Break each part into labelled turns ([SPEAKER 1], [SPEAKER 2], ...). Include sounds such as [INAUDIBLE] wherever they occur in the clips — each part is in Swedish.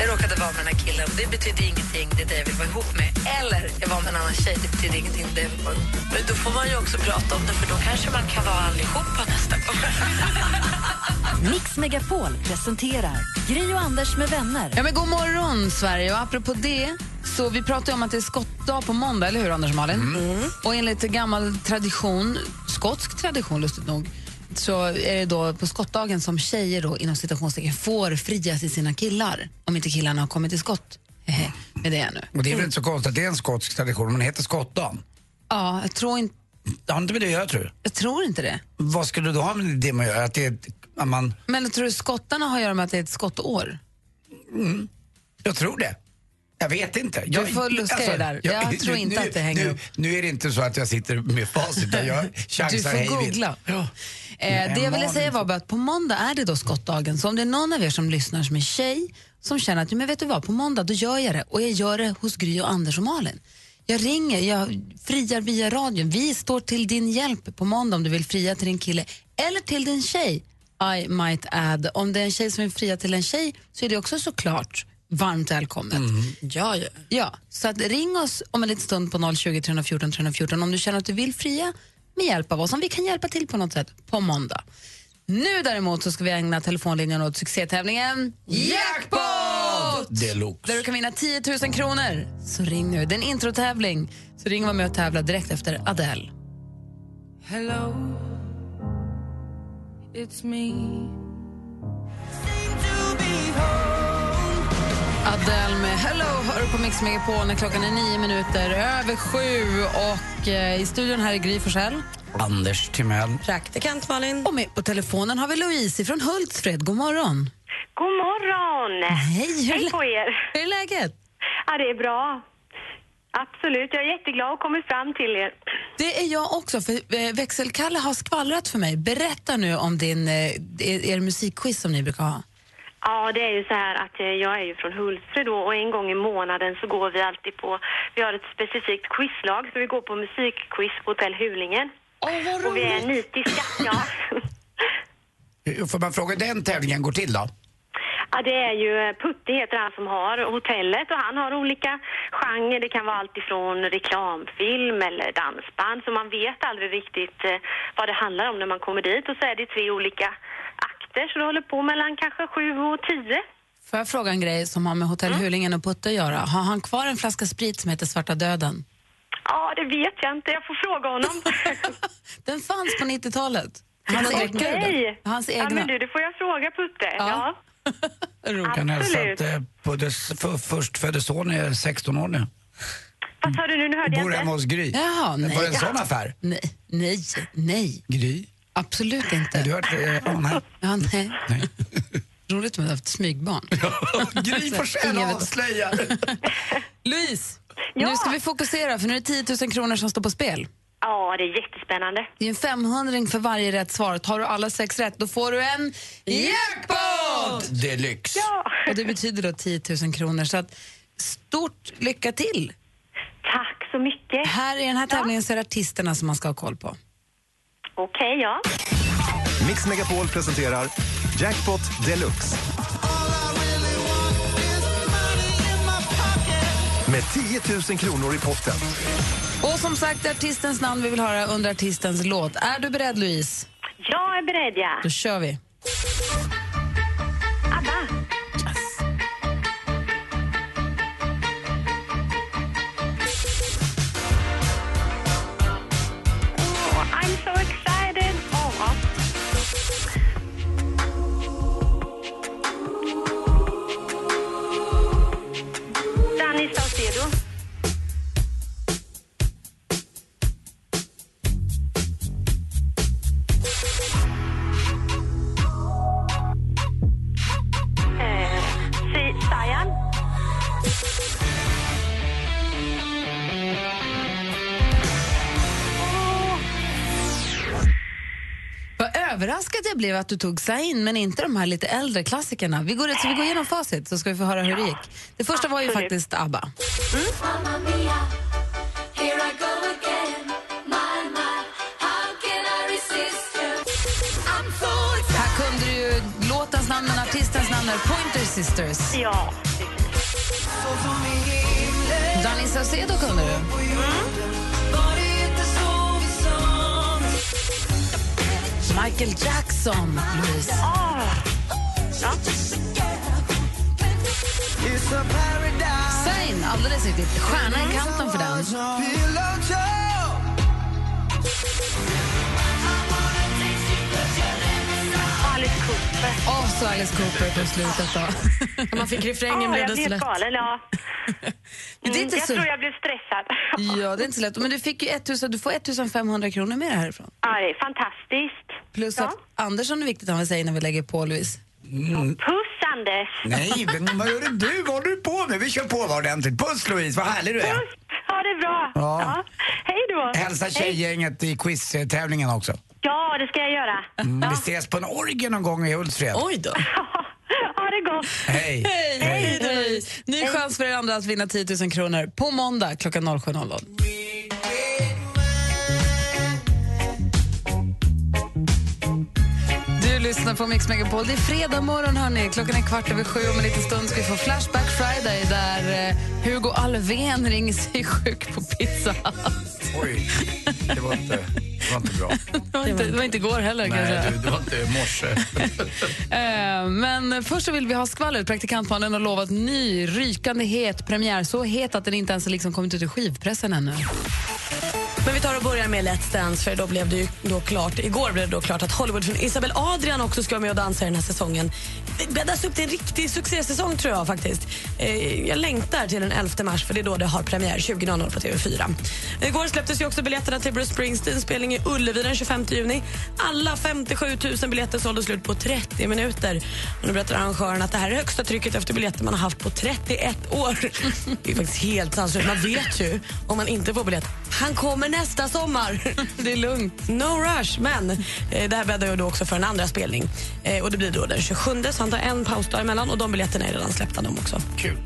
[SPEAKER 1] Jag råkade vara med den här killen. Det betyder ingenting, det är det jag vill vara ihop med. Eller jag var med en annan tjej, det betyder ingenting, det är det jag vill vara ihop med. Men då får man ju också prata om det, för då kanske man kan vara allihopa nästa gång.
[SPEAKER 2] Mix Megapol presenterar Gri och Anders med vänner.
[SPEAKER 3] Ja, men god morgon, Sverige. Och apropå det, så vi pratade ju om att det är skottdag på måndag, eller hur, Anders och Malin?
[SPEAKER 1] Mm.
[SPEAKER 3] Och enligt gammal tradition, skotsk tradition lustigt nog, så är det då på skottdagen som tjejer då, inom citationstecken får fria till sina killar om inte killarna har kommit till skott Hehe, med det ännu.
[SPEAKER 4] Och det är väl inte så konstigt att det är en skotsk tradition, men det heter skottdagen.
[SPEAKER 3] Ja, jag tror, in,
[SPEAKER 4] Det har inte med det att göra tror du?
[SPEAKER 3] jag tror inte det.
[SPEAKER 4] Vad skulle du då ha med det med att göra? Att det är ett, att man,
[SPEAKER 3] Men jag tror du skottarna har att göra med att det är ett skottår?
[SPEAKER 4] jag tror det. Jag vet inte. Jag, Alltså,
[SPEAKER 3] får luska i det där. Jag tror inte att det hänger
[SPEAKER 4] nu,
[SPEAKER 3] upp.
[SPEAKER 4] Nu är det inte så att jag sitter med facit.
[SPEAKER 3] [LAUGHS]
[SPEAKER 4] utan Jag chansar
[SPEAKER 3] Du
[SPEAKER 4] hej
[SPEAKER 3] får
[SPEAKER 4] vilt.
[SPEAKER 3] googla.
[SPEAKER 4] Ja.
[SPEAKER 3] Eh, det jag ville
[SPEAKER 4] Malin.
[SPEAKER 3] säga var bara att på måndag är det då skottdagen. Så om det är någon av er som lyssnar som är tjej som känner att "Jo, men vet du vad, på måndag då gör jag det och jag gör det hos Gry och Anders och Malin. Jag ringer, jag friar via radion. Vi står till din hjälp på måndag om du vill fria till din kille eller till din tjej. I might add. Om det är en tjej som vill fria till en tjej så är det också såklart varmt välkommet.
[SPEAKER 1] Mm. Ja, ja.
[SPEAKER 3] Ja, så att ring oss om en liten stund på 020 314 314 om du känner att du vill fria med hjälp av oss, om vi kan hjälpa till på något sätt på måndag. Nu däremot så ska vi ägna telefonlinjen åt succétävlingen Jackpot!
[SPEAKER 4] Deluxe.
[SPEAKER 3] Där du kan vinna 10 000 kronor. Så ring nu, det är en introtävling. Så ring och var med och tävla direkt efter Adele.
[SPEAKER 5] Hello, it's me.
[SPEAKER 3] Adele med Hello hör du på Mix Megapol när klockan är nio minuter över sju och eh, i studion här är Gry Forssell.
[SPEAKER 4] Anders Timell.
[SPEAKER 1] Praktikant Malin.
[SPEAKER 3] Och med på telefonen har vi Louise från Hultsfred. God morgon.
[SPEAKER 6] God morgon!
[SPEAKER 3] Hej, hur, är
[SPEAKER 6] Hej
[SPEAKER 3] lä-
[SPEAKER 6] på er!
[SPEAKER 3] hur är läget?
[SPEAKER 6] Ja, det är bra. Absolut, jag är jätteglad att komma fram till er.
[SPEAKER 3] Det är jag också, för eh, växelkalle har skvallrat för mig. Berätta nu om din, eh, er, er musikquiz som ni brukar ha.
[SPEAKER 6] Ja, det är ju så här att eh, jag är ju från Hultsfred då och en gång i månaden så går vi alltid på, vi har ett specifikt quizlag så vi går på musikquiz på Hotell Hulingen.
[SPEAKER 3] Åh, vad
[SPEAKER 6] Och vi är
[SPEAKER 3] roligt!
[SPEAKER 6] nitiska, ja.
[SPEAKER 3] [LAUGHS]
[SPEAKER 4] Hur Får man fråga hur den tävlingen går till då?
[SPEAKER 6] Ja, det är ju eh, Putte heter han som har hotellet och han har olika genrer. Det kan vara allt ifrån reklamfilm eller dansband. Så man vet aldrig riktigt eh, vad det handlar om när man kommer dit. Och så är det tre olika akter så det håller på mellan kanske sju och tio.
[SPEAKER 3] Får jag fråga en grej som har med Hotell
[SPEAKER 6] Mm.
[SPEAKER 3] Hulingen och Putte att göra? Har han kvar en flaska sprit som heter Svarta döden? [LAUGHS]
[SPEAKER 6] Ja, det vet jag inte. Jag får fråga honom.
[SPEAKER 3] Den fanns på 90-talet. Hans
[SPEAKER 6] Okej.
[SPEAKER 3] egna. Hans
[SPEAKER 6] Ja,
[SPEAKER 3] egna.
[SPEAKER 6] men du, det får jag fråga Putte.
[SPEAKER 3] Ja.
[SPEAKER 6] Ja.
[SPEAKER 3] [LAUGHS] Roligt.
[SPEAKER 4] Kan hälsa
[SPEAKER 6] Absolut.
[SPEAKER 4] att eh, Puddes för, förstfödde son är 16 år nu.
[SPEAKER 6] Vad sa du nu? Nu hörde jag
[SPEAKER 4] Bor hemma
[SPEAKER 6] inte.
[SPEAKER 4] hos Gry.
[SPEAKER 3] Jaha, nej.
[SPEAKER 4] Var det en sån affär?
[SPEAKER 3] nej, nej, nej.
[SPEAKER 4] Gry?
[SPEAKER 3] Absolut
[SPEAKER 4] Har du
[SPEAKER 3] inte.
[SPEAKER 4] hört? eh, Ja, nej.
[SPEAKER 3] Ja, nej.
[SPEAKER 4] nej.
[SPEAKER 3] Roligt om du har haft smygbarn. [LAUGHS]
[SPEAKER 4] [LAUGHS] Gry Forssell
[SPEAKER 3] Ingen vet.
[SPEAKER 4] avslöjar.
[SPEAKER 3] Louise,
[SPEAKER 6] Ja.
[SPEAKER 3] nu ska vi fokusera för nu är det 10 000 kronor som står på spel.
[SPEAKER 6] Ja, det är jättespännande.
[SPEAKER 3] Det är en 500 för varje rätt svar. Tar du alla sex rätt då får du en jackpot!
[SPEAKER 4] Deluxe.
[SPEAKER 6] Ja.
[SPEAKER 3] Och det betyder då 10 000 kronor. Så att stort lycka till!
[SPEAKER 6] Tack så mycket.
[SPEAKER 3] Här i den här tävlingen så är det artisterna som man ska ha koll på.
[SPEAKER 6] Okej, ja.
[SPEAKER 7] Mix Megapol presenterar Jackpot Deluxe. Med 10 000 kronor i potten.
[SPEAKER 3] Och som sagt, det är artistens namn vi vill höra under artistens låt. Är du beredd Louise?
[SPEAKER 6] Jag är beredd, ja.
[SPEAKER 3] Då kör vi.
[SPEAKER 6] Abba. Oh, I'm so excited. Oh, ja. Danny Saucedo. Eh,
[SPEAKER 3] överraskad jag blev att du tog Zayn, men inte de här lite äldre klassikerna. Vi går, så vi går igenom facit så ska vi få höra hur det gick. Det första var ju
[SPEAKER 6] Absolut.
[SPEAKER 3] faktiskt ABBA.
[SPEAKER 8] Mamma Mia, here I go again. My, my, how can I resist you? I'm so excited.
[SPEAKER 3] Här kunde du ju låtens namn, men artistens namn är Pointer Sisters.
[SPEAKER 6] Ja.
[SPEAKER 3] Danny Saucedo kunde du. Michael Jackson, Louise. Zayn, alldeles riktigt. Stjärna i kanten för den.
[SPEAKER 6] Alice Cooper.
[SPEAKER 3] Och så Alice Cooper på slutet då. [LAUGHS]
[SPEAKER 9] Man fick refrängen
[SPEAKER 6] Ja,
[SPEAKER 9] blev
[SPEAKER 6] jag
[SPEAKER 9] det
[SPEAKER 6] blev helt
[SPEAKER 9] så lätt.
[SPEAKER 6] galen. Ja.
[SPEAKER 3] Men det är
[SPEAKER 6] Mm,
[SPEAKER 3] inte
[SPEAKER 6] jag
[SPEAKER 3] så...
[SPEAKER 6] tror jag blev
[SPEAKER 3] [LAUGHS]
[SPEAKER 6] stressad.
[SPEAKER 3] Ja, det är inte så lätt. Men du fick ju 1000, du får 1500 kronor med det härifrån.
[SPEAKER 6] Ja, det är fantastiskt.
[SPEAKER 3] Plus
[SPEAKER 6] Ja.
[SPEAKER 3] att Mm. Andersson är viktigt han säger när vi lägger på Louise.
[SPEAKER 6] Puss, Anders!
[SPEAKER 4] Nej, men vad gjorde du? Vad håller du på med? Vi kör på var ordentligt. Puss Louise, vad härlig du är.
[SPEAKER 6] Puss! Ha det bra!
[SPEAKER 4] Ja.
[SPEAKER 6] Hej då!
[SPEAKER 4] Hälsa
[SPEAKER 6] Hej.
[SPEAKER 4] tjejgänget i quiztävlingen också.
[SPEAKER 6] Ja, det ska jag göra.
[SPEAKER 4] Mm. Vi ses på en orgie någon gång i Hultsfred.
[SPEAKER 9] Oj då.
[SPEAKER 6] ha det gott!
[SPEAKER 4] Hej!
[SPEAKER 3] Hej! Hej! Ny chans för er andra att vinna 10 000 kronor på måndag klockan 07.00. Du lyssnar på Mix Megapol. Det är fredag morgon, hörni. Klockan är kvart över sju. Om en liten stund ska vi få Flashback Friday där eh, Hugo Alvén ringer sig sjuk på pizza. Hut.
[SPEAKER 4] Oj, det var inte, det var inte bra.
[SPEAKER 3] Det var inte- det var inte igår heller, kanske.
[SPEAKER 4] Nej, du, det var inte i morse.
[SPEAKER 3] [LAUGHS] Eh, Men först så vill vi ha skvallret. Praktikantmannen har lovat ny, rykande het premiär. Så het att den inte ens har liksom kommit ut i skivpressen ännu.
[SPEAKER 9] Men vi tar och börjar med Let's Dance för då blev det ju då klart, igår blev det då klart att Hollywoodfrun Isabel Adrian också ska vara med och dansa i den här säsongen. Det bäddas upp till en riktig succésäsong tror jag faktiskt. Eh, Jag längtar till den 11 mars för det är då det har premiär 20.00 på TV4. Igår släpptes ju också biljetterna till Bruce Springsteens spelning i Ullevi den 25 juni. Alla 57 000 biljetter sålde slut på 30 minuter. Och nu berättar arrangören att det här är högsta trycket efter biljetter man har haft på 31 år. Det är faktiskt helt sanslöst. Man vet ju om man inte får biljett. Han kommer nästa sommar.
[SPEAKER 3] [LAUGHS] Det är lugnt.
[SPEAKER 9] No rush, men eh, det här bäddar ju då också för en andra spelning. Eh, och Det blir då den 27, så han tar en pausdag emellan och de biljetterna är redan släppta de också.
[SPEAKER 4] Kul.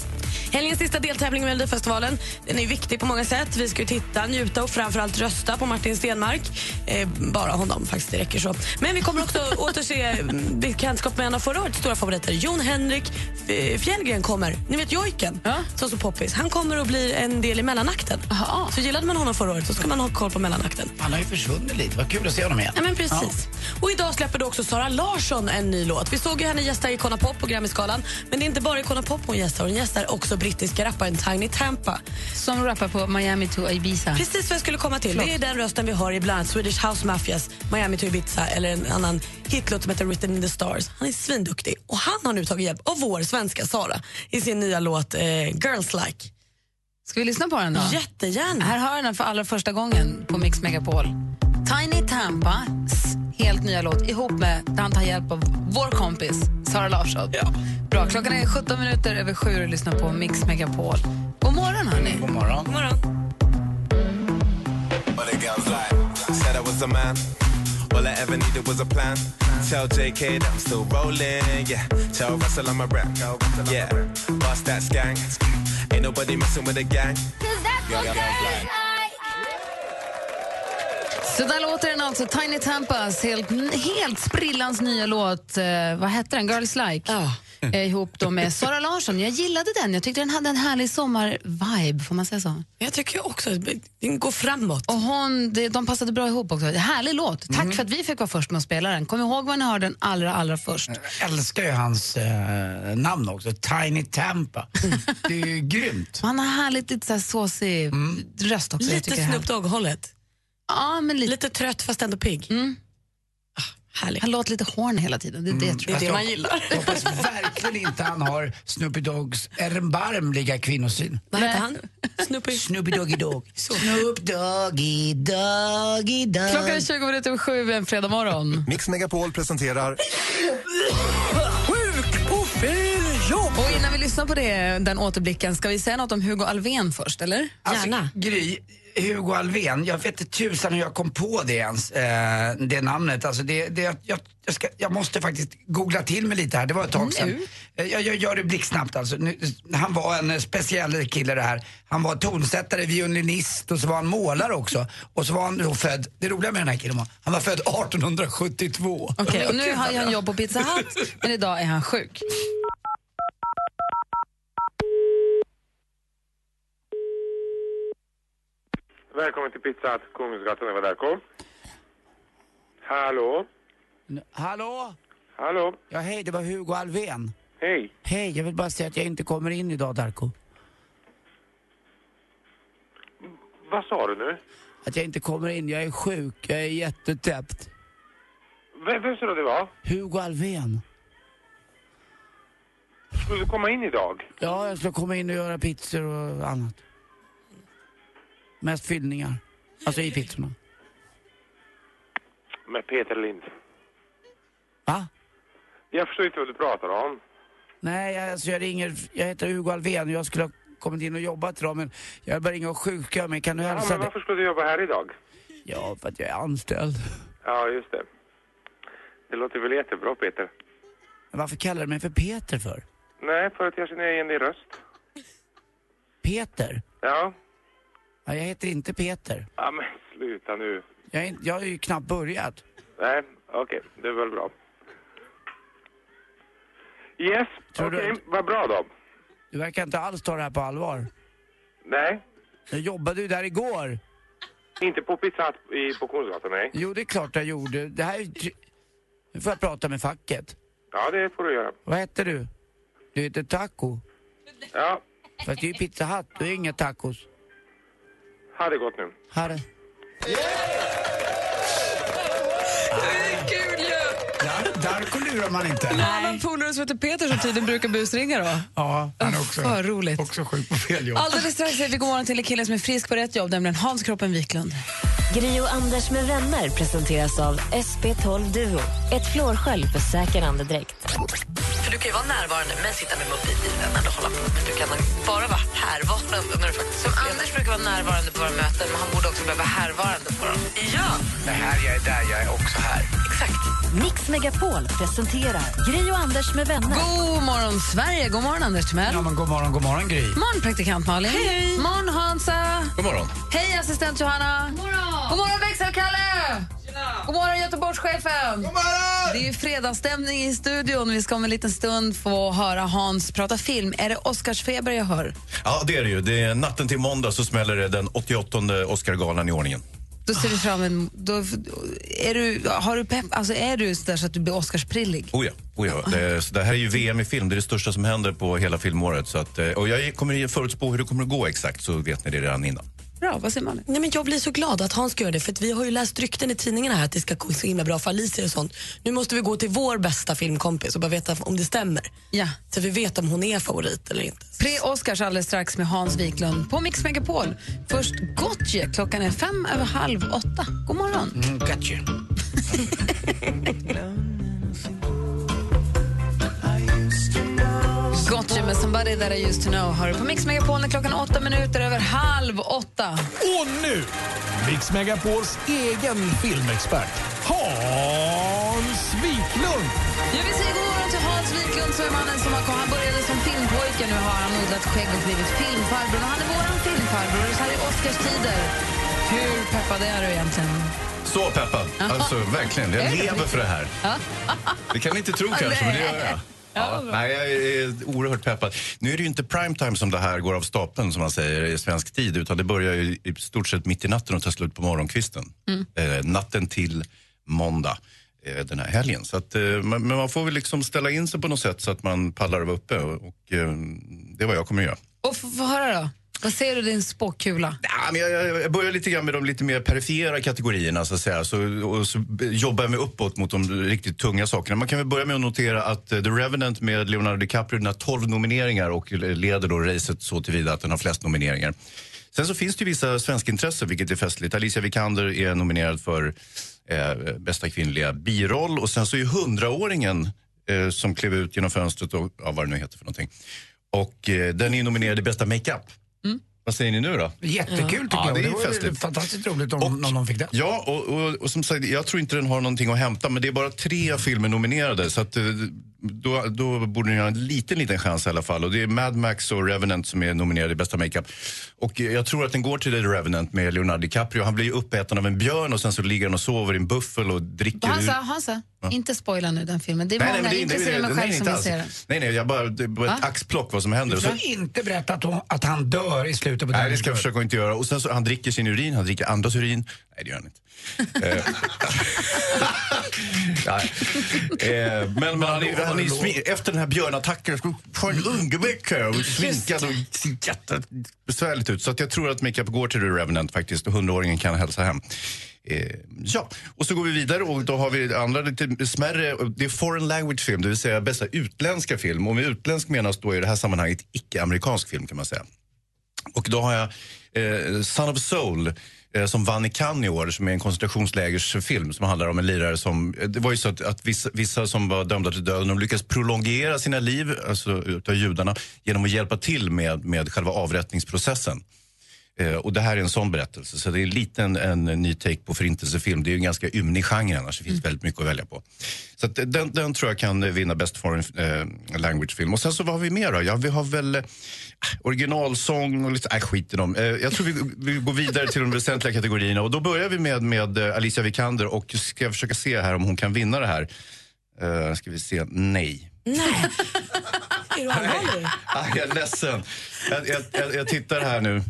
[SPEAKER 9] Helgens sista deltävling i Melodifestivalen den är viktig på många sätt. Vi ska ju titta, njuta och framförallt rösta på Martin Stenmark. Eh, bara honom, faktiskt. Det räcker så. Men vi
[SPEAKER 3] [LAUGHS]
[SPEAKER 9] kommer också återse mm, bekantskap med en av förra årets stora favoriter. Jon Henrik eh, Fjällgren kommer. Ni vet jojken,
[SPEAKER 3] Ja.
[SPEAKER 9] som så poppis. Han kommer att bli en del i mellanakten.
[SPEAKER 3] Aha.
[SPEAKER 9] Så gillade man honom förra året så ska man ha koll på mellanakten.
[SPEAKER 4] Han har ju försvunnit lite. Vad kul att se honom igen.
[SPEAKER 9] Ja, men precis. Och idag släpper då också Sara Larsson en ny låt. Vi såg ju henne gästa Icona Pop på Grammyskalan. Men det är inte bara Icona Pop hon gästar, hon gästar också brittiska rapparen Tiny Tampa.
[SPEAKER 3] Som rappar på Miami to Ibiza.
[SPEAKER 9] Precis vad jag skulle komma till. Det är den rösten vi hör i bland annat Swedish House Mafias Miami to Ibiza eller en annan hitlåt som heter Written in the Stars. Han är svinduktig och han har nu tagit hjälp av vår svenska Sara i sin nya låt eh, Girls Like.
[SPEAKER 3] Ska vi lyssna på den då?
[SPEAKER 9] Jättegärna.
[SPEAKER 3] Här hör jag den för allra första gången på Mix Megapol. Tiny Tampas helt nya låt ihop med där han tar hjälp av vår kompis Sara Larsson. Bra, klockan är 17 minuter över sju och lyssnar på Mix Megapol. God morgon hörni.
[SPEAKER 4] God morgon.
[SPEAKER 9] God morgon.
[SPEAKER 10] All the girls like, said I was a man. All I ever needed was a plan. Tell JK that I'm still rolling, yeah. Tell Russell I'm a rap, yeah. Bust that skank. Ain't nobody messing with the gang.
[SPEAKER 8] 'Cause that's what girls like.
[SPEAKER 3] Så där låter den alltså, Tiny Tampas, helt, helt sprillans nya låt, eh, vad hette den, Girls Like?
[SPEAKER 9] Ja.
[SPEAKER 3] Eh, ihop då med Sara Larsson. Jag gillade den, jag tyckte den hade en härlig sommar-vibe, får man säga så?
[SPEAKER 9] Jag tycker också att den går framåt.
[SPEAKER 3] Och hon, det, de passade bra ihop också. Härlig låt, tack
[SPEAKER 9] Mm.
[SPEAKER 3] för att vi fick vara först med att spela den. Kom ihåg var ni hörde den allra, allra först.
[SPEAKER 4] Jag älskar ju hans eh, namn också. Tiny Tampa. Det är ju grymt.
[SPEAKER 3] Han har härligt lite så här såsig röst också. jag
[SPEAKER 9] Mm. Lite
[SPEAKER 3] tycker det är
[SPEAKER 9] Snoop Dogg-hållet.
[SPEAKER 3] härligt. Ja, men lite.
[SPEAKER 9] Lite trött fast ändå pigg. Ah, härligt. Mm.
[SPEAKER 3] Han låter lite horn hela tiden, det är det jag tror
[SPEAKER 9] Det är det
[SPEAKER 3] jag.
[SPEAKER 9] man gillar.
[SPEAKER 4] Jag hoppas verkligen inte han har Snoopy Dogs erbarmliga kvinnosyn.
[SPEAKER 9] Vad heter han? Snoopy.
[SPEAKER 4] Snoopy Doggy Dogg. Snoop Doggy Doggy Dogg.
[SPEAKER 3] Klockan är 20 minuter över sju en fredag morgon.
[SPEAKER 10] Mix Megapol presenterar
[SPEAKER 3] Och innan vi lyssnar lyssna på det, den återblicken. Ska vi säga något om Hugo Alvén först, eller?
[SPEAKER 4] Alltså, Gry, Hugo Alvén, jag vet inte tusan hur jag kom på det ens, eh, det namnet. Alltså det, det, jag, jag, ska, jag måste faktiskt googla till mig lite här, det var ett tag sedan. Eh, Jag, jag gör det blixtsnabbt alltså. Nu, han var en eh, speciell kille det här. Han var tonsättare, violinist och så var han målare också. Och så var han då född, det roliga med den här killen var, han var född 1872.
[SPEAKER 3] Okej, och nu har han jobb på Pizza Hut, men idag är han sjuk.
[SPEAKER 11] Välkommen till Pizza Hut Kungsgatan över Darko. Hallå?
[SPEAKER 4] Hallå?
[SPEAKER 11] Hallå?
[SPEAKER 4] Ja, hej, det var Hugo Alvén.
[SPEAKER 11] Hej.
[SPEAKER 4] Hej, jag vill bara säga att jag inte kommer in idag, Darko.
[SPEAKER 11] Vad sa du nu?
[SPEAKER 4] Att jag inte kommer in, jag är sjuk, jag är jättetäppt.
[SPEAKER 11] Vem, vem sa du det var?
[SPEAKER 4] Hugo Alvén.
[SPEAKER 11] Skulle du komma in idag?
[SPEAKER 4] Ja, jag ska komma in och göra pizzor och annat. Mest fyllningar. Alltså i pizzorna.
[SPEAKER 11] Med Peter Lind.
[SPEAKER 4] Va?
[SPEAKER 11] Jag förstår inte vad du pratar om.
[SPEAKER 4] Nej, jag, alltså jag ringer, jag heter Hugo Alvén och jag skulle ha kommit in och jobbat idag men jag bara ringa och sjuka men kan du
[SPEAKER 11] Ja,
[SPEAKER 4] hälsa
[SPEAKER 11] men
[SPEAKER 4] dig?
[SPEAKER 11] varför skulle du jobba här idag?
[SPEAKER 4] Ja, för att jag är anställd.
[SPEAKER 11] Ja, just det. Det låter väl jättebra, Peter.
[SPEAKER 4] Men varför kallar du mig för Peter för?
[SPEAKER 11] Nej, för att jag känner igen din röst.
[SPEAKER 4] Peter?
[SPEAKER 11] Ja.
[SPEAKER 4] Ja, jag heter inte Peter.
[SPEAKER 11] Ja, men sluta nu.
[SPEAKER 4] Jag, är, inte- jag har ju knappt börjat.
[SPEAKER 11] Nej, okej. Det är väl bra. Yes, okej. Vad bra då.
[SPEAKER 4] Du verkar inte alls ta det här på allvar.
[SPEAKER 11] Nej.
[SPEAKER 4] Jag jobbade ju där igår.
[SPEAKER 11] Inte på Pizza Hut i, på Kungsgatan, nej.
[SPEAKER 4] Jo, det är klart jag gjorde. Det här är ju... tr- Nu får jag prata med facket.
[SPEAKER 11] Ja, det får du göra.
[SPEAKER 4] Vad heter du? Du heter Taco.
[SPEAKER 11] Ja,
[SPEAKER 4] Fast det är ju Pizza Hut, det är inga tacos.
[SPEAKER 11] ha det gott nu.
[SPEAKER 4] Här är...
[SPEAKER 3] Kul ju!
[SPEAKER 4] Dar- Darko lurar man inte.
[SPEAKER 3] En annan polare som heter Peter som tiden brukar busringa då.
[SPEAKER 4] Ja, han är också,
[SPEAKER 3] För roligt.
[SPEAKER 4] också sjuk på fel jobb.
[SPEAKER 3] Alldeles strax säger vi god morgon till en kille som är frisk på rätt jobb, nämligen Hans Kroppen Wiklund.
[SPEAKER 2] Gri och Anders med vänner presenteras av SP12 Duo. Ett flårskölj för säker andedräkt.
[SPEAKER 1] För du kan ju vara närvarande men sitta med mupp i bilen eller hålla på. Men du kan bara vara härvarande när du faktiskt Som Anders brukar vara närvarande på våra möten men han borde också behöva vara härvarande på dem. Ja!
[SPEAKER 4] Det här, jag är där, jag är också här.
[SPEAKER 2] Mix Megapol presenterar Gri och Anders med vänner.
[SPEAKER 3] God morgon, Sverige! God morgon, Anders Timell.
[SPEAKER 4] Ja, men god morgon, god morgon Gry.
[SPEAKER 3] Morgon, praktikant Malin. Hej. Morgon, Hansa.
[SPEAKER 9] God morgon.
[SPEAKER 3] Hej, assistent Johanna. God morgon, god morgon växelkalle. God morgon, Göteborgschefen. God morgon. Det är ju fredagsstämning i studion. Vi ska om en liten stund få höra Hans prata film. Är det Oscarsfeber jag hör?
[SPEAKER 9] Ja, det är det ju. Det är natten till måndag så smäller det den 88 Oscargalan i ordningen.
[SPEAKER 3] Då ser vi fram emot... Då, är du, har du pepp, alltså är du så, där så att du blir Oscarsprillig?
[SPEAKER 9] Oh ja, oh ja. Det, så det här är ju VM i film. Det är det största som händer på hela filmåret. Så att, eh, och jag kommer ju förutspå hur det kommer att gå exakt, så vet ni det redan innan.
[SPEAKER 3] Bra, vad säger man?
[SPEAKER 12] Nej, men jag blir så glad att Hans gör det för att vi har ju läst rykten i tidningarna här att det ska gå så himla bra för Alicia och sånt. Nu måste vi gå till vår bästa filmkompis och bara veta om det stämmer.
[SPEAKER 3] Ja.
[SPEAKER 12] Så vi vet om hon är favorit eller inte.
[SPEAKER 3] Pre-Oscars alldeles strax med Hans Wiklund på Mix Megapol. Först Gotye, klockan är fem över halv åtta. God morgon.
[SPEAKER 4] Mm, gotcha.
[SPEAKER 3] Gotye med Somebody That I Used To Know har du på Mix Megapol när klockan är åtta minuter över halv åtta.
[SPEAKER 13] Och nu, Mix Megapols egen filmexpert, Hans Wiklund!
[SPEAKER 3] Jag vill säga god morgon till Hans Wiklund som är mannen som har kommit. Han började som filmpojke, nu har han odlat skägg och blivit filmfarbror. Och han är våran filmfarbror och så här i Oscarstider. Hur peppad är du egentligen?
[SPEAKER 9] Så peppad! Alltså, verkligen. Jag lever för det här.
[SPEAKER 3] Ja.
[SPEAKER 9] Det kan ni inte tro kanske, men det gör jag. Ja, nej, jag är oerhört peppad. Nu är det ju inte primetime som det här går av stapeln som man säger i svensk tid utan det börjar ju i stort sett mitt i natten och tar slut på morgonkvisten. Eh, natten till måndag eh, den här helgen. Så att, eh, men men man får väl liksom ställa in sig på något sätt så att man pallar att vara uppe och, och eh, det är vad jag kommer att göra.
[SPEAKER 3] Och f- få höra då. Vad ser du i din spåkula?
[SPEAKER 9] Ja, men jag, jag, jag börjar lite grann med de lite mer perifera kategorierna så att säga. Så, och så jobbar jag mig uppåt mot de riktigt tunga sakerna. Man kan väl börja med att notera att eh, The Revenant med Leonardo DiCaprio den har 12 nomineringar och leder då racet så tillvida att den har flest nomineringar. Sen så finns det ju vissa svenska intressen, vilket är festligt. Alicia Vikander är nominerad för eh, bästa kvinnliga biroll och sen så är ju hundraåringen eh, som klev ut genom fönstret och ja, vad det nu heter för någonting. Och eh, den är nominerad i bästa makeup.
[SPEAKER 3] Mm.
[SPEAKER 9] Vad säger ni nu då?
[SPEAKER 4] Jättekul tycker jag.
[SPEAKER 9] Ja, det är
[SPEAKER 4] vore
[SPEAKER 9] festligt.
[SPEAKER 4] fantastiskt roligt om någon någon fick det.
[SPEAKER 9] Ja, och, och, och som sagt, jag tror inte den har någonting att hämta, men det är bara tre filmer nominerade. Så att, eh, då, då borde ni ha en liten, liten chans i alla fall. Och det är Mad Max och Revenant som är nominerade i bästa makeup. Och eh, jag tror att den går till The Revenant med Leonardo DiCaprio. Han blir ju uppäten av en björn och sen så ligger han och sover i en buffel och dricker
[SPEAKER 3] Hansa,
[SPEAKER 9] ur-
[SPEAKER 3] Hansa
[SPEAKER 9] Ja.
[SPEAKER 3] inte spoila nu den filmen. Det är många,
[SPEAKER 9] men det-
[SPEAKER 3] inklusive
[SPEAKER 9] det-
[SPEAKER 3] mig
[SPEAKER 9] nej,
[SPEAKER 3] själv,
[SPEAKER 9] inte
[SPEAKER 3] som vill
[SPEAKER 9] alls.
[SPEAKER 3] se den.
[SPEAKER 9] Nej, nej, jag bara, det är bara ett
[SPEAKER 3] Va?
[SPEAKER 9] axplock vad som händer. Och
[SPEAKER 4] Du
[SPEAKER 9] så,
[SPEAKER 4] får inte berätta att, hon, att han dör i slutet på
[SPEAKER 9] nej,
[SPEAKER 4] den
[SPEAKER 9] det ska jag försöka inte göra. Och sen så, han dricker sin urin, han dricker andras urin. Nej, det gör han inte. Eh, [LAUGHS] nej. Eh, men men han, är- han är ju svin- efter den här björnattacken så får han en ungeväck här och är sminkad och ser jättebesvärligt ut. Så att jag tror att makeup går till The Revenant faktiskt och hundraåringen kan hälsa hem. Eh, ja, och så går vi vidare och då har vi andra lite smärre. Det är foreign language film, det vill säga bästa utländska film. Och med utländsk menas då i det här sammanhanget icke-amerikansk film kan man säga. Och då har jag eh, Son of Soul eh, som vann i Cannes i år, som är en koncentrationslägersfilm som handlar om en lirare som... eh, Det var ju så att, att vissa, vissa som var dömda till döden de lyckas prolongera sina liv, alltså utav judarna, genom att hjälpa till med, med själva avrättningsprocessen. Eh, och det här är en sån berättelse, så det är lite en, en ny take på förintelsefilm. Det är ju en ganska ymnig genre annars, det finns väldigt mycket att välja på. Så att den, den tror jag kan eh, vinna Best Foreign eh, Language-film. Och sen så vad har vi mer då? Ja, vi har väl eh, originalsång och lite... Nej, skit i dem. Eh, jag tror vi, vi går vidare till de väsentliga kategorierna. Och då börjar vi med, med eh, Alicia Vikander och ska jag försöka se här om hon kan vinna det här. Eh, ska vi se? Nej.
[SPEAKER 12] Nej. Är du
[SPEAKER 9] [LAUGHS]
[SPEAKER 12] allvarlig?
[SPEAKER 9] Ah, jag är ledsen. Jag, jag, jag, jag tittar här nu.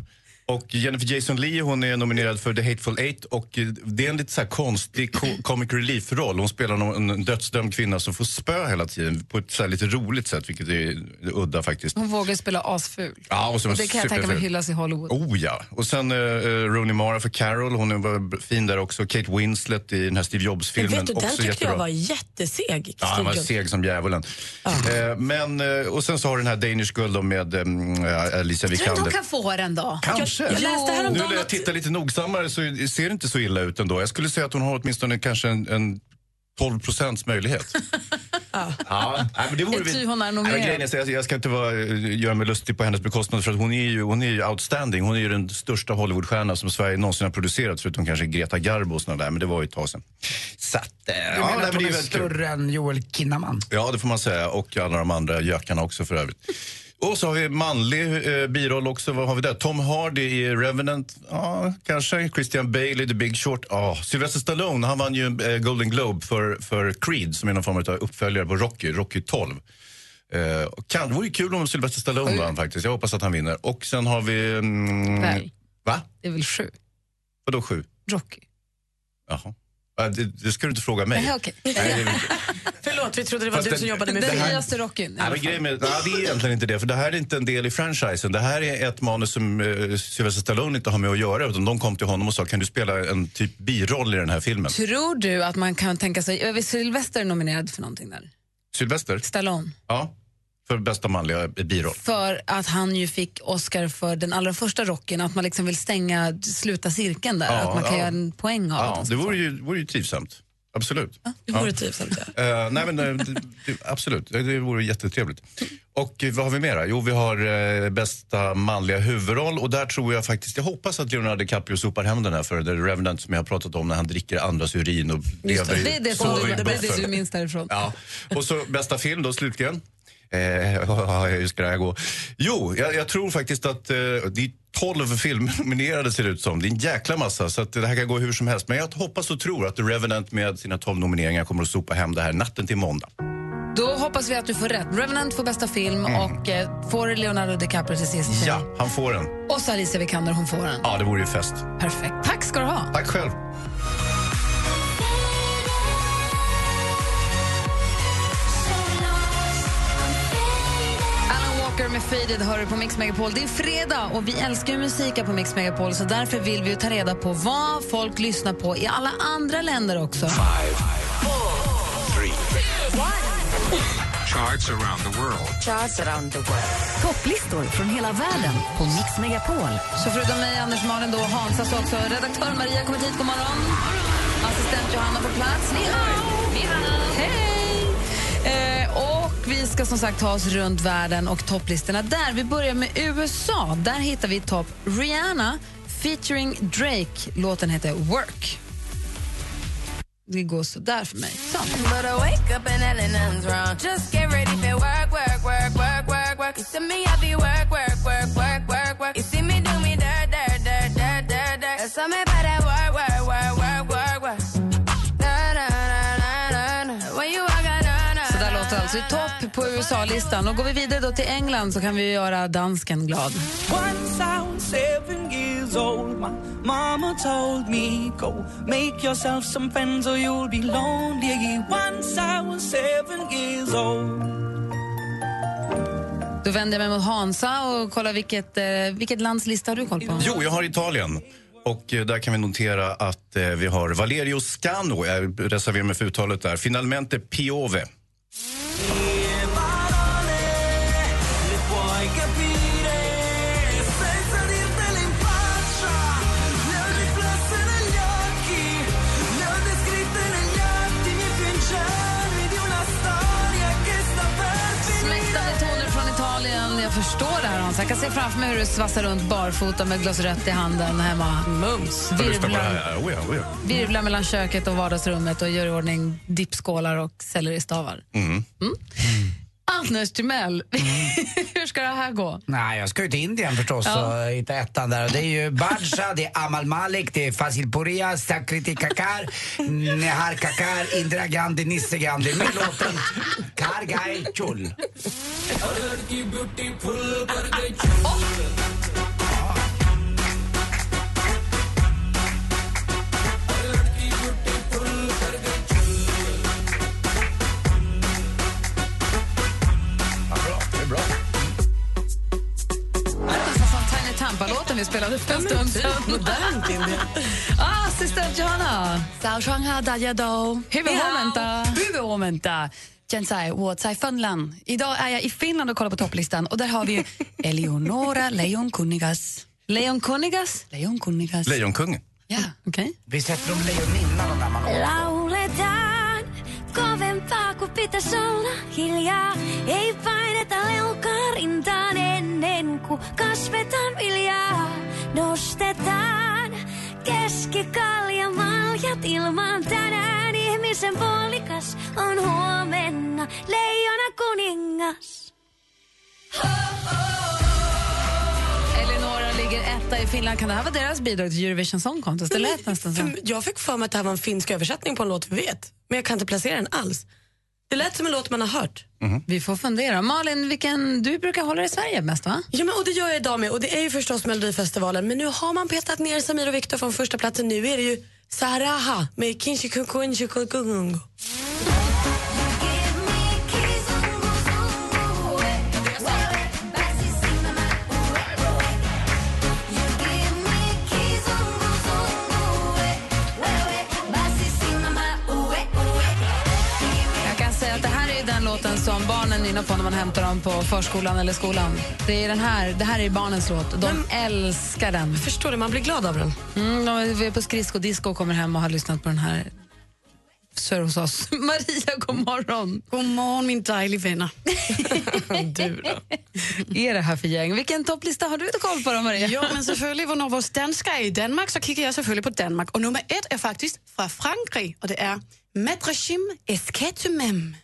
[SPEAKER 9] Och Jennifer Jason Leigh hon är nominerad för The Hateful Eight. Och eh, det är en lite så här konstig ko- comic relief-roll. Hon spelar någon, en dödsdömd kvinna som får spö hela tiden på ett så här lite roligt sätt, vilket är udda faktiskt.
[SPEAKER 3] Hon vågar spela asful.
[SPEAKER 9] Ja, och så är
[SPEAKER 3] Och
[SPEAKER 9] hon
[SPEAKER 3] det kan jag tänka mig
[SPEAKER 9] superful.
[SPEAKER 3] hyllas i Hollywood.
[SPEAKER 9] Oh ja. Och sen eh, eh, Rooney Mara för Carol, hon är- var fin där också. Kate Winslet i den här Steve Jobs-filmen.
[SPEAKER 12] Vet du, den
[SPEAKER 9] också
[SPEAKER 12] tyckte
[SPEAKER 9] jättebra.
[SPEAKER 12] jag var jätteseg.
[SPEAKER 9] Ja, han var
[SPEAKER 12] Steve Jobs. Ah.
[SPEAKER 9] seg som djävulen. Eh, men, eh, och sen så har den här Danish Girl då med um, Alicia
[SPEAKER 3] Jag tror inte hon
[SPEAKER 9] Vikander.
[SPEAKER 3] kan få den då.
[SPEAKER 9] Kanske.
[SPEAKER 3] Jag, jag läste
[SPEAKER 9] nu
[SPEAKER 3] häromdagen
[SPEAKER 9] när jag
[SPEAKER 3] att
[SPEAKER 9] tittar lite nogsammare så ser det inte så illa ut ändå. Jag skulle säga att hon har åtminstone kanske en, en 12
[SPEAKER 3] [LAUGHS]
[SPEAKER 9] procents möjlighet. ja. nej, men det vore
[SPEAKER 3] Ett
[SPEAKER 9] vi-
[SPEAKER 3] ty hon är nog
[SPEAKER 9] Nej, men
[SPEAKER 3] med.
[SPEAKER 9] grejen är så jag, jag ska inte vara, eh, göra mig lustig på hennes bekostnad för att hon är, ju, hon är ju outstanding. Hon är ju den största Hollywoodstjärna som Sverige någonsin har producerat förutom kanske Greta Garbo och såna där, men det var ju ett tag sedan. Så att, eh,
[SPEAKER 4] Du
[SPEAKER 9] ja,
[SPEAKER 4] menar
[SPEAKER 9] nej,
[SPEAKER 4] att
[SPEAKER 9] men
[SPEAKER 4] hon är,
[SPEAKER 9] det är väldigt kul.
[SPEAKER 4] större än Joel Kinnaman?
[SPEAKER 9] Ja, det får man säga. Och alla de andra gökarna också för övrigt. Och så har vi manlig eh, biroll också. Vad har vi där? Tom Hardy i Revenant. Ja, kanske. Christian Bale i The Big Short. Ja, Sylvester Stallone, han vann ju eh, Golden Globe för, för Creed som är någon form av uppföljare på Rocky, Rocky 12. Eh, och kan, det vore ju kul om Sylvester Stallone vann faktiskt. Jag hoppas att han vinner. Och sen har vi... Mm,
[SPEAKER 3] Väl.
[SPEAKER 9] Va?
[SPEAKER 3] det är väl sju.
[SPEAKER 9] Vadå sju?
[SPEAKER 3] Rocky.
[SPEAKER 9] Jaha. Ja, Det, det ska du inte fråga mig.
[SPEAKER 3] Nej, okej.
[SPEAKER 9] Nej, det är väl-
[SPEAKER 12] Förlåt, vi trodde det var
[SPEAKER 9] Fast
[SPEAKER 12] du
[SPEAKER 9] den-
[SPEAKER 12] som jobbade med
[SPEAKER 9] den
[SPEAKER 12] film.
[SPEAKER 9] nyaste
[SPEAKER 3] Rockyn.
[SPEAKER 9] Nej, men grejen med, nej, det är egentligen inte det, för det här är inte en del i franchisen. Det här är ett manus som eh, Sylvester Stallone inte har med att göra. Utan de kom till honom och sa, kan du spela en typ biroll i den här filmen?
[SPEAKER 3] Tror du att man kan tänka sig... Är Sylvester nominerad för någonting där?
[SPEAKER 9] Sylvester?
[SPEAKER 3] Stallone.
[SPEAKER 9] Ja, för bästa manliga biroll.
[SPEAKER 3] För att han ju fick Oscar för den allra första rocken, att man liksom vill stänga, sluta cirkeln där,
[SPEAKER 9] Ja,
[SPEAKER 3] att man kan
[SPEAKER 9] ja.
[SPEAKER 3] göra en poäng av
[SPEAKER 9] Ja,
[SPEAKER 3] det.
[SPEAKER 9] det vore ju, vore ju trivsamt. Absolut.
[SPEAKER 12] Det vore trivsamt, ja.
[SPEAKER 9] Eh, nej, men, eh, det, det, absolut, det, det vore jättetrevligt. Och eh, vad har vi mer? då? Jo, vi har eh, bästa manliga huvudroll och där tror jag faktiskt, jag hoppas att Leonardo DiCaprio sopar hem den här för The Revenant som jag har pratat om när han dricker andras urin och
[SPEAKER 3] Just
[SPEAKER 9] lever
[SPEAKER 3] det.
[SPEAKER 9] i-
[SPEAKER 3] Det är det, som
[SPEAKER 9] sover i
[SPEAKER 3] du, det är det
[SPEAKER 9] buffel.
[SPEAKER 3] du minns därifrån. [LAUGHS]
[SPEAKER 9] Ja. Och så bästa film då slutligen. Eh, [LAUGHS] hur ska det här gå? Jo, jag, jag tror faktiskt att eh, det är 12 filmer nominerade ser det ut som. Det är en jäkla massa så att det här kan gå hur som helst. Men jag hoppas och tror att The Revenant med sina 12 nomineringar kommer att sopa hem det här natten till måndag.
[SPEAKER 3] Då hoppas vi att du får rätt. Revenant får bästa film
[SPEAKER 9] Mm.
[SPEAKER 3] och eh, får Leonardo DiCaprio till sist. eh,
[SPEAKER 9] Ja, han får den.
[SPEAKER 3] Och så Alicia Vikander, hon får den.
[SPEAKER 9] Ja, det vore ju fest.
[SPEAKER 3] Perfekt. Tack ska du ha.
[SPEAKER 9] Tack själv.
[SPEAKER 3] Alan Walker med Faded hör du på Mix Megapol. Det är fredag och vi älskar ju musik här på Mix Megapol så därför vill vi ju ta reda på vad folk lyssnar på i alla andra länder också.
[SPEAKER 14] Charts around the world.
[SPEAKER 2] Topplistor från hela världen på Mix Megapol.
[SPEAKER 3] Så förutom mig, Anders Malin då, och Hansa så har också redaktör Maria kommit hit. God morgon. Assistent Johanna på plats. Ni hao. Ni hao. Hej! Eh, och vi ska som sagt ta oss runt världen och topplistorna där. Vi börjar med USA. Där hittar vi topp Rihanna featuring Drake. Låten heter Work. Det går så där för mig. Så.
[SPEAKER 14] But I wake up and LA nothing's wrong. Just get ready for work, work, work, work, work, work. You see me, I be work, work, work, work, work, work. You see me do me dirt, dirt, dirt, dirt, dirt, dirt. There's something about that work, work, work, work, work, work. Na, na, na, na, na, na. When you walk out, na, na,
[SPEAKER 3] Så där
[SPEAKER 14] na,
[SPEAKER 3] låter alltså i topp på USA-listan. Och går vi vidare då till England så kan vi göra dansken glad.
[SPEAKER 15] Once I was seven years old, my mama told me, Go make yourself some friends or you'll be lonely. Once I was seven years old.
[SPEAKER 3] Då vänder jag mig mot Hansa och kollar vilket, eh, vilket lands lista har du koll på?
[SPEAKER 9] Jo, jag har Italien. Och eh, där kan vi notera att eh, vi har Valerio Scano, jag reserverar mig för uttalet där, Finalmente Piove.
[SPEAKER 16] Puoi capire senza dirtelo in faccia Le ho riflesse negli occhi Le ho descritte negli attimi più ingenui Di una storia che sta per
[SPEAKER 3] Smäktande toner från Italien. Jag förstår det här Hansa. Jag kan se framför mig hur du svassar runt barfota med ett glas rött i handen hemma. Mums.
[SPEAKER 9] Jag lyssnar på det
[SPEAKER 3] Virvlar,
[SPEAKER 9] här. Oh ja, oh ja.
[SPEAKER 3] virvlar mellan köket och vardagsrummet och gör i ordning dippskålar och selleristavar.
[SPEAKER 9] Mm.
[SPEAKER 3] Anders Timell, [LAUGHS] hur ska det här gå?
[SPEAKER 4] Nej, jag ska ju till Indien förstås
[SPEAKER 3] Ja.
[SPEAKER 4] och hitta ettan där. Och Det är ju Badshah, det är Amal Malik, det är Fasil Puria, Sakriti Kakar, Nehar Kakar, Indira Gandhi, Nisse Gandhi med låten Kar Gai Chul.
[SPEAKER 3] Det är som Tiny Tampa-låten vi spelade för en stund sedan. [LAUGHS] Ah, assistent Johanna.
[SPEAKER 17] 早上好，大家都。
[SPEAKER 3] Huvudmomentet.
[SPEAKER 17] Huvudmomentet. Jensai, Watsai, Finland. Idag är jag i Finland och kollar på topplistan och där har
[SPEAKER 3] [LAUGHS]
[SPEAKER 17] vi Eleonora Lejonkunnigas.
[SPEAKER 3] Lejonkunnigas?
[SPEAKER 17] Lejonkunnigas.
[SPEAKER 9] Lejonkungen.
[SPEAKER 17] Ja,
[SPEAKER 3] okej.
[SPEAKER 4] Vi sätter dem lejoninnan och där man
[SPEAKER 16] Lauletaan kovempaa kuin pitäis olla hiljaa. Ei paineta leukaa rintaan ennen kuin kasvetaan viljaa. Nostetaan keskikaljamalja ilmaan tänään. Ihmisen puolikas on huomenna leijona kuningas.
[SPEAKER 3] Eleonora ligger etta i Finland. Kan det här vara deras bidrag till Eurovision Song Contest? Det lät nästan
[SPEAKER 17] Mm.
[SPEAKER 3] så.
[SPEAKER 12] Jag fick för mig att det här var en finsk översättning på en låt vi vet, men jag kan inte placera den alls. Det lät som en låt man har hört.
[SPEAKER 3] Vi får fundera. Malin, vilken, du brukar hålla dig i Sverige mest va?
[SPEAKER 12] Ja, men, och det gör jag idag med och det är ju förstås Melodifestivalen men nu har man petat ner Samir och Viktor från första platsen. Nu är det ju Saraha med Kinchi Kunkunchi Kunkungo.
[SPEAKER 3] Jag kan säga att det här är ju den låten som barnen nynnar på när man hämtar dem på förskolan eller skolan. Det, är den här, det här är ju barnens låt. De älskar den. Jag
[SPEAKER 12] förstår det, man blir glad av den.
[SPEAKER 3] Mm, de vi är på skridskodisco och kommer hem och har lyssnat på den här. Så är det hos oss. [LAUGHS] Maria, god morgon.
[SPEAKER 17] God morgon min
[SPEAKER 12] [LAUGHS]
[SPEAKER 17] dejliga vänner.
[SPEAKER 3] du då? är det här för gäng? Vilken topplista har du koll på då Maria?
[SPEAKER 17] Jo, men selvfølgelig, hvornår vores danskere er i Danmark, så kigger jeg selvfølgelig på Danmark. Og nummer et er faktisk fra Frankrig, og det er Madregim Escatumem.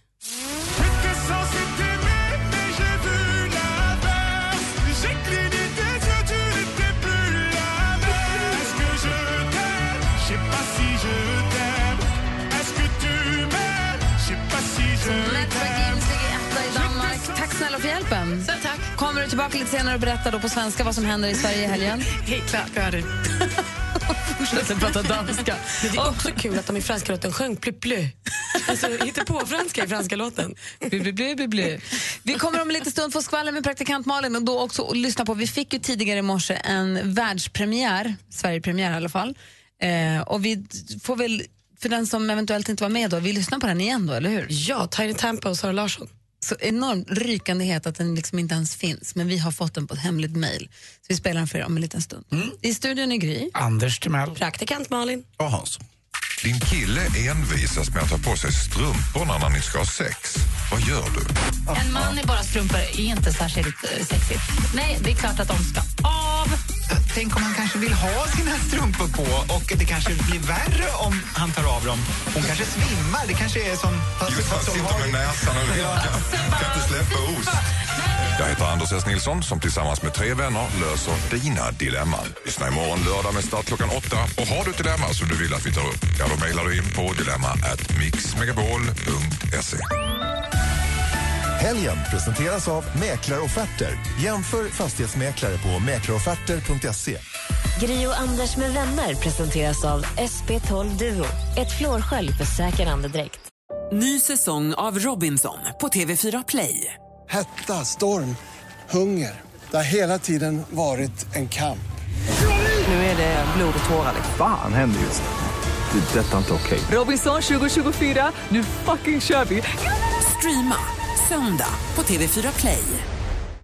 [SPEAKER 3] Danmark. Tack snälla för hjälpen. Så, tack. Kommer du tillbaka lite senare och berättar då på svenska vad som händer i Sverige i helgen?
[SPEAKER 17] Helt klart gör det.
[SPEAKER 3] Fortsätter prata danska.
[SPEAKER 12] Men det är också kul att de i franska låten sjöng plu plu. Alltså hitta på franska i franska låten.
[SPEAKER 3] Bli, bli, bli, bli, bli. Vi kommer om en liten stund få skvaller med praktikant Malin och då också att lyssna på, vi fick ju tidigare i morse en världspremiär, Sverigepremiär i alla fall. Eh, och vi får väl, för den som eventuellt inte var med då, vi lyssnar på den igen då, eller hur?
[SPEAKER 12] Ja, Tiny Tampa och Sara Larsson.
[SPEAKER 3] Så enormt rykande het att den liksom inte ens finns, men vi har fått den på ett hemligt mejl. Så Mm. vi spelar den för er om en liten stund. I studion är Gry.
[SPEAKER 4] Anders Timell.
[SPEAKER 12] Praktikant Malin.
[SPEAKER 9] Och Hans.
[SPEAKER 18] Din kille envisas med att ta på sig strumporna när ni ska ha sex. Vad gör du?
[SPEAKER 3] En man i bara strumpor är inte särskilt eh, sexigt. Nej, det är klart att de ska av.
[SPEAKER 19] Tänk om han kanske vill ha sina strumpor på och det kanske blir värre om han tar av dem. Hon kanske svimmar. Det kanske är som...
[SPEAKER 18] Just han sitter med näsan och vinkar. Kan inte släppa ost. Jag heter Anders S. Nilsson som tillsammans med tre vänner löser dina dilemman. Lyssna imorgon lördag med start klockan åtta. Och har du ett dilemma som du vill att vi tar upp, ja då mejlar du in på dilemma at mixmegapol.se.
[SPEAKER 9] Helgen presenteras av Mäklarofferter. Jämför fastighetsmäklare på mäklarofferter.se.
[SPEAKER 1] Gri och Anders med vänner presenteras av SP12 Duo. Ett flårskölj för säker andedräkt.
[SPEAKER 20] Ny säsong av Robinson på TV4 Play.
[SPEAKER 10] Hetta, storm, hunger. Det har hela tiden varit en kamp.
[SPEAKER 20] Nu är det blod och tårar.
[SPEAKER 21] Fan händer just det. Det är detta inte okej.
[SPEAKER 20] Robinson 2024, nu fucking kör vi! Streama söndag på TV4 Play.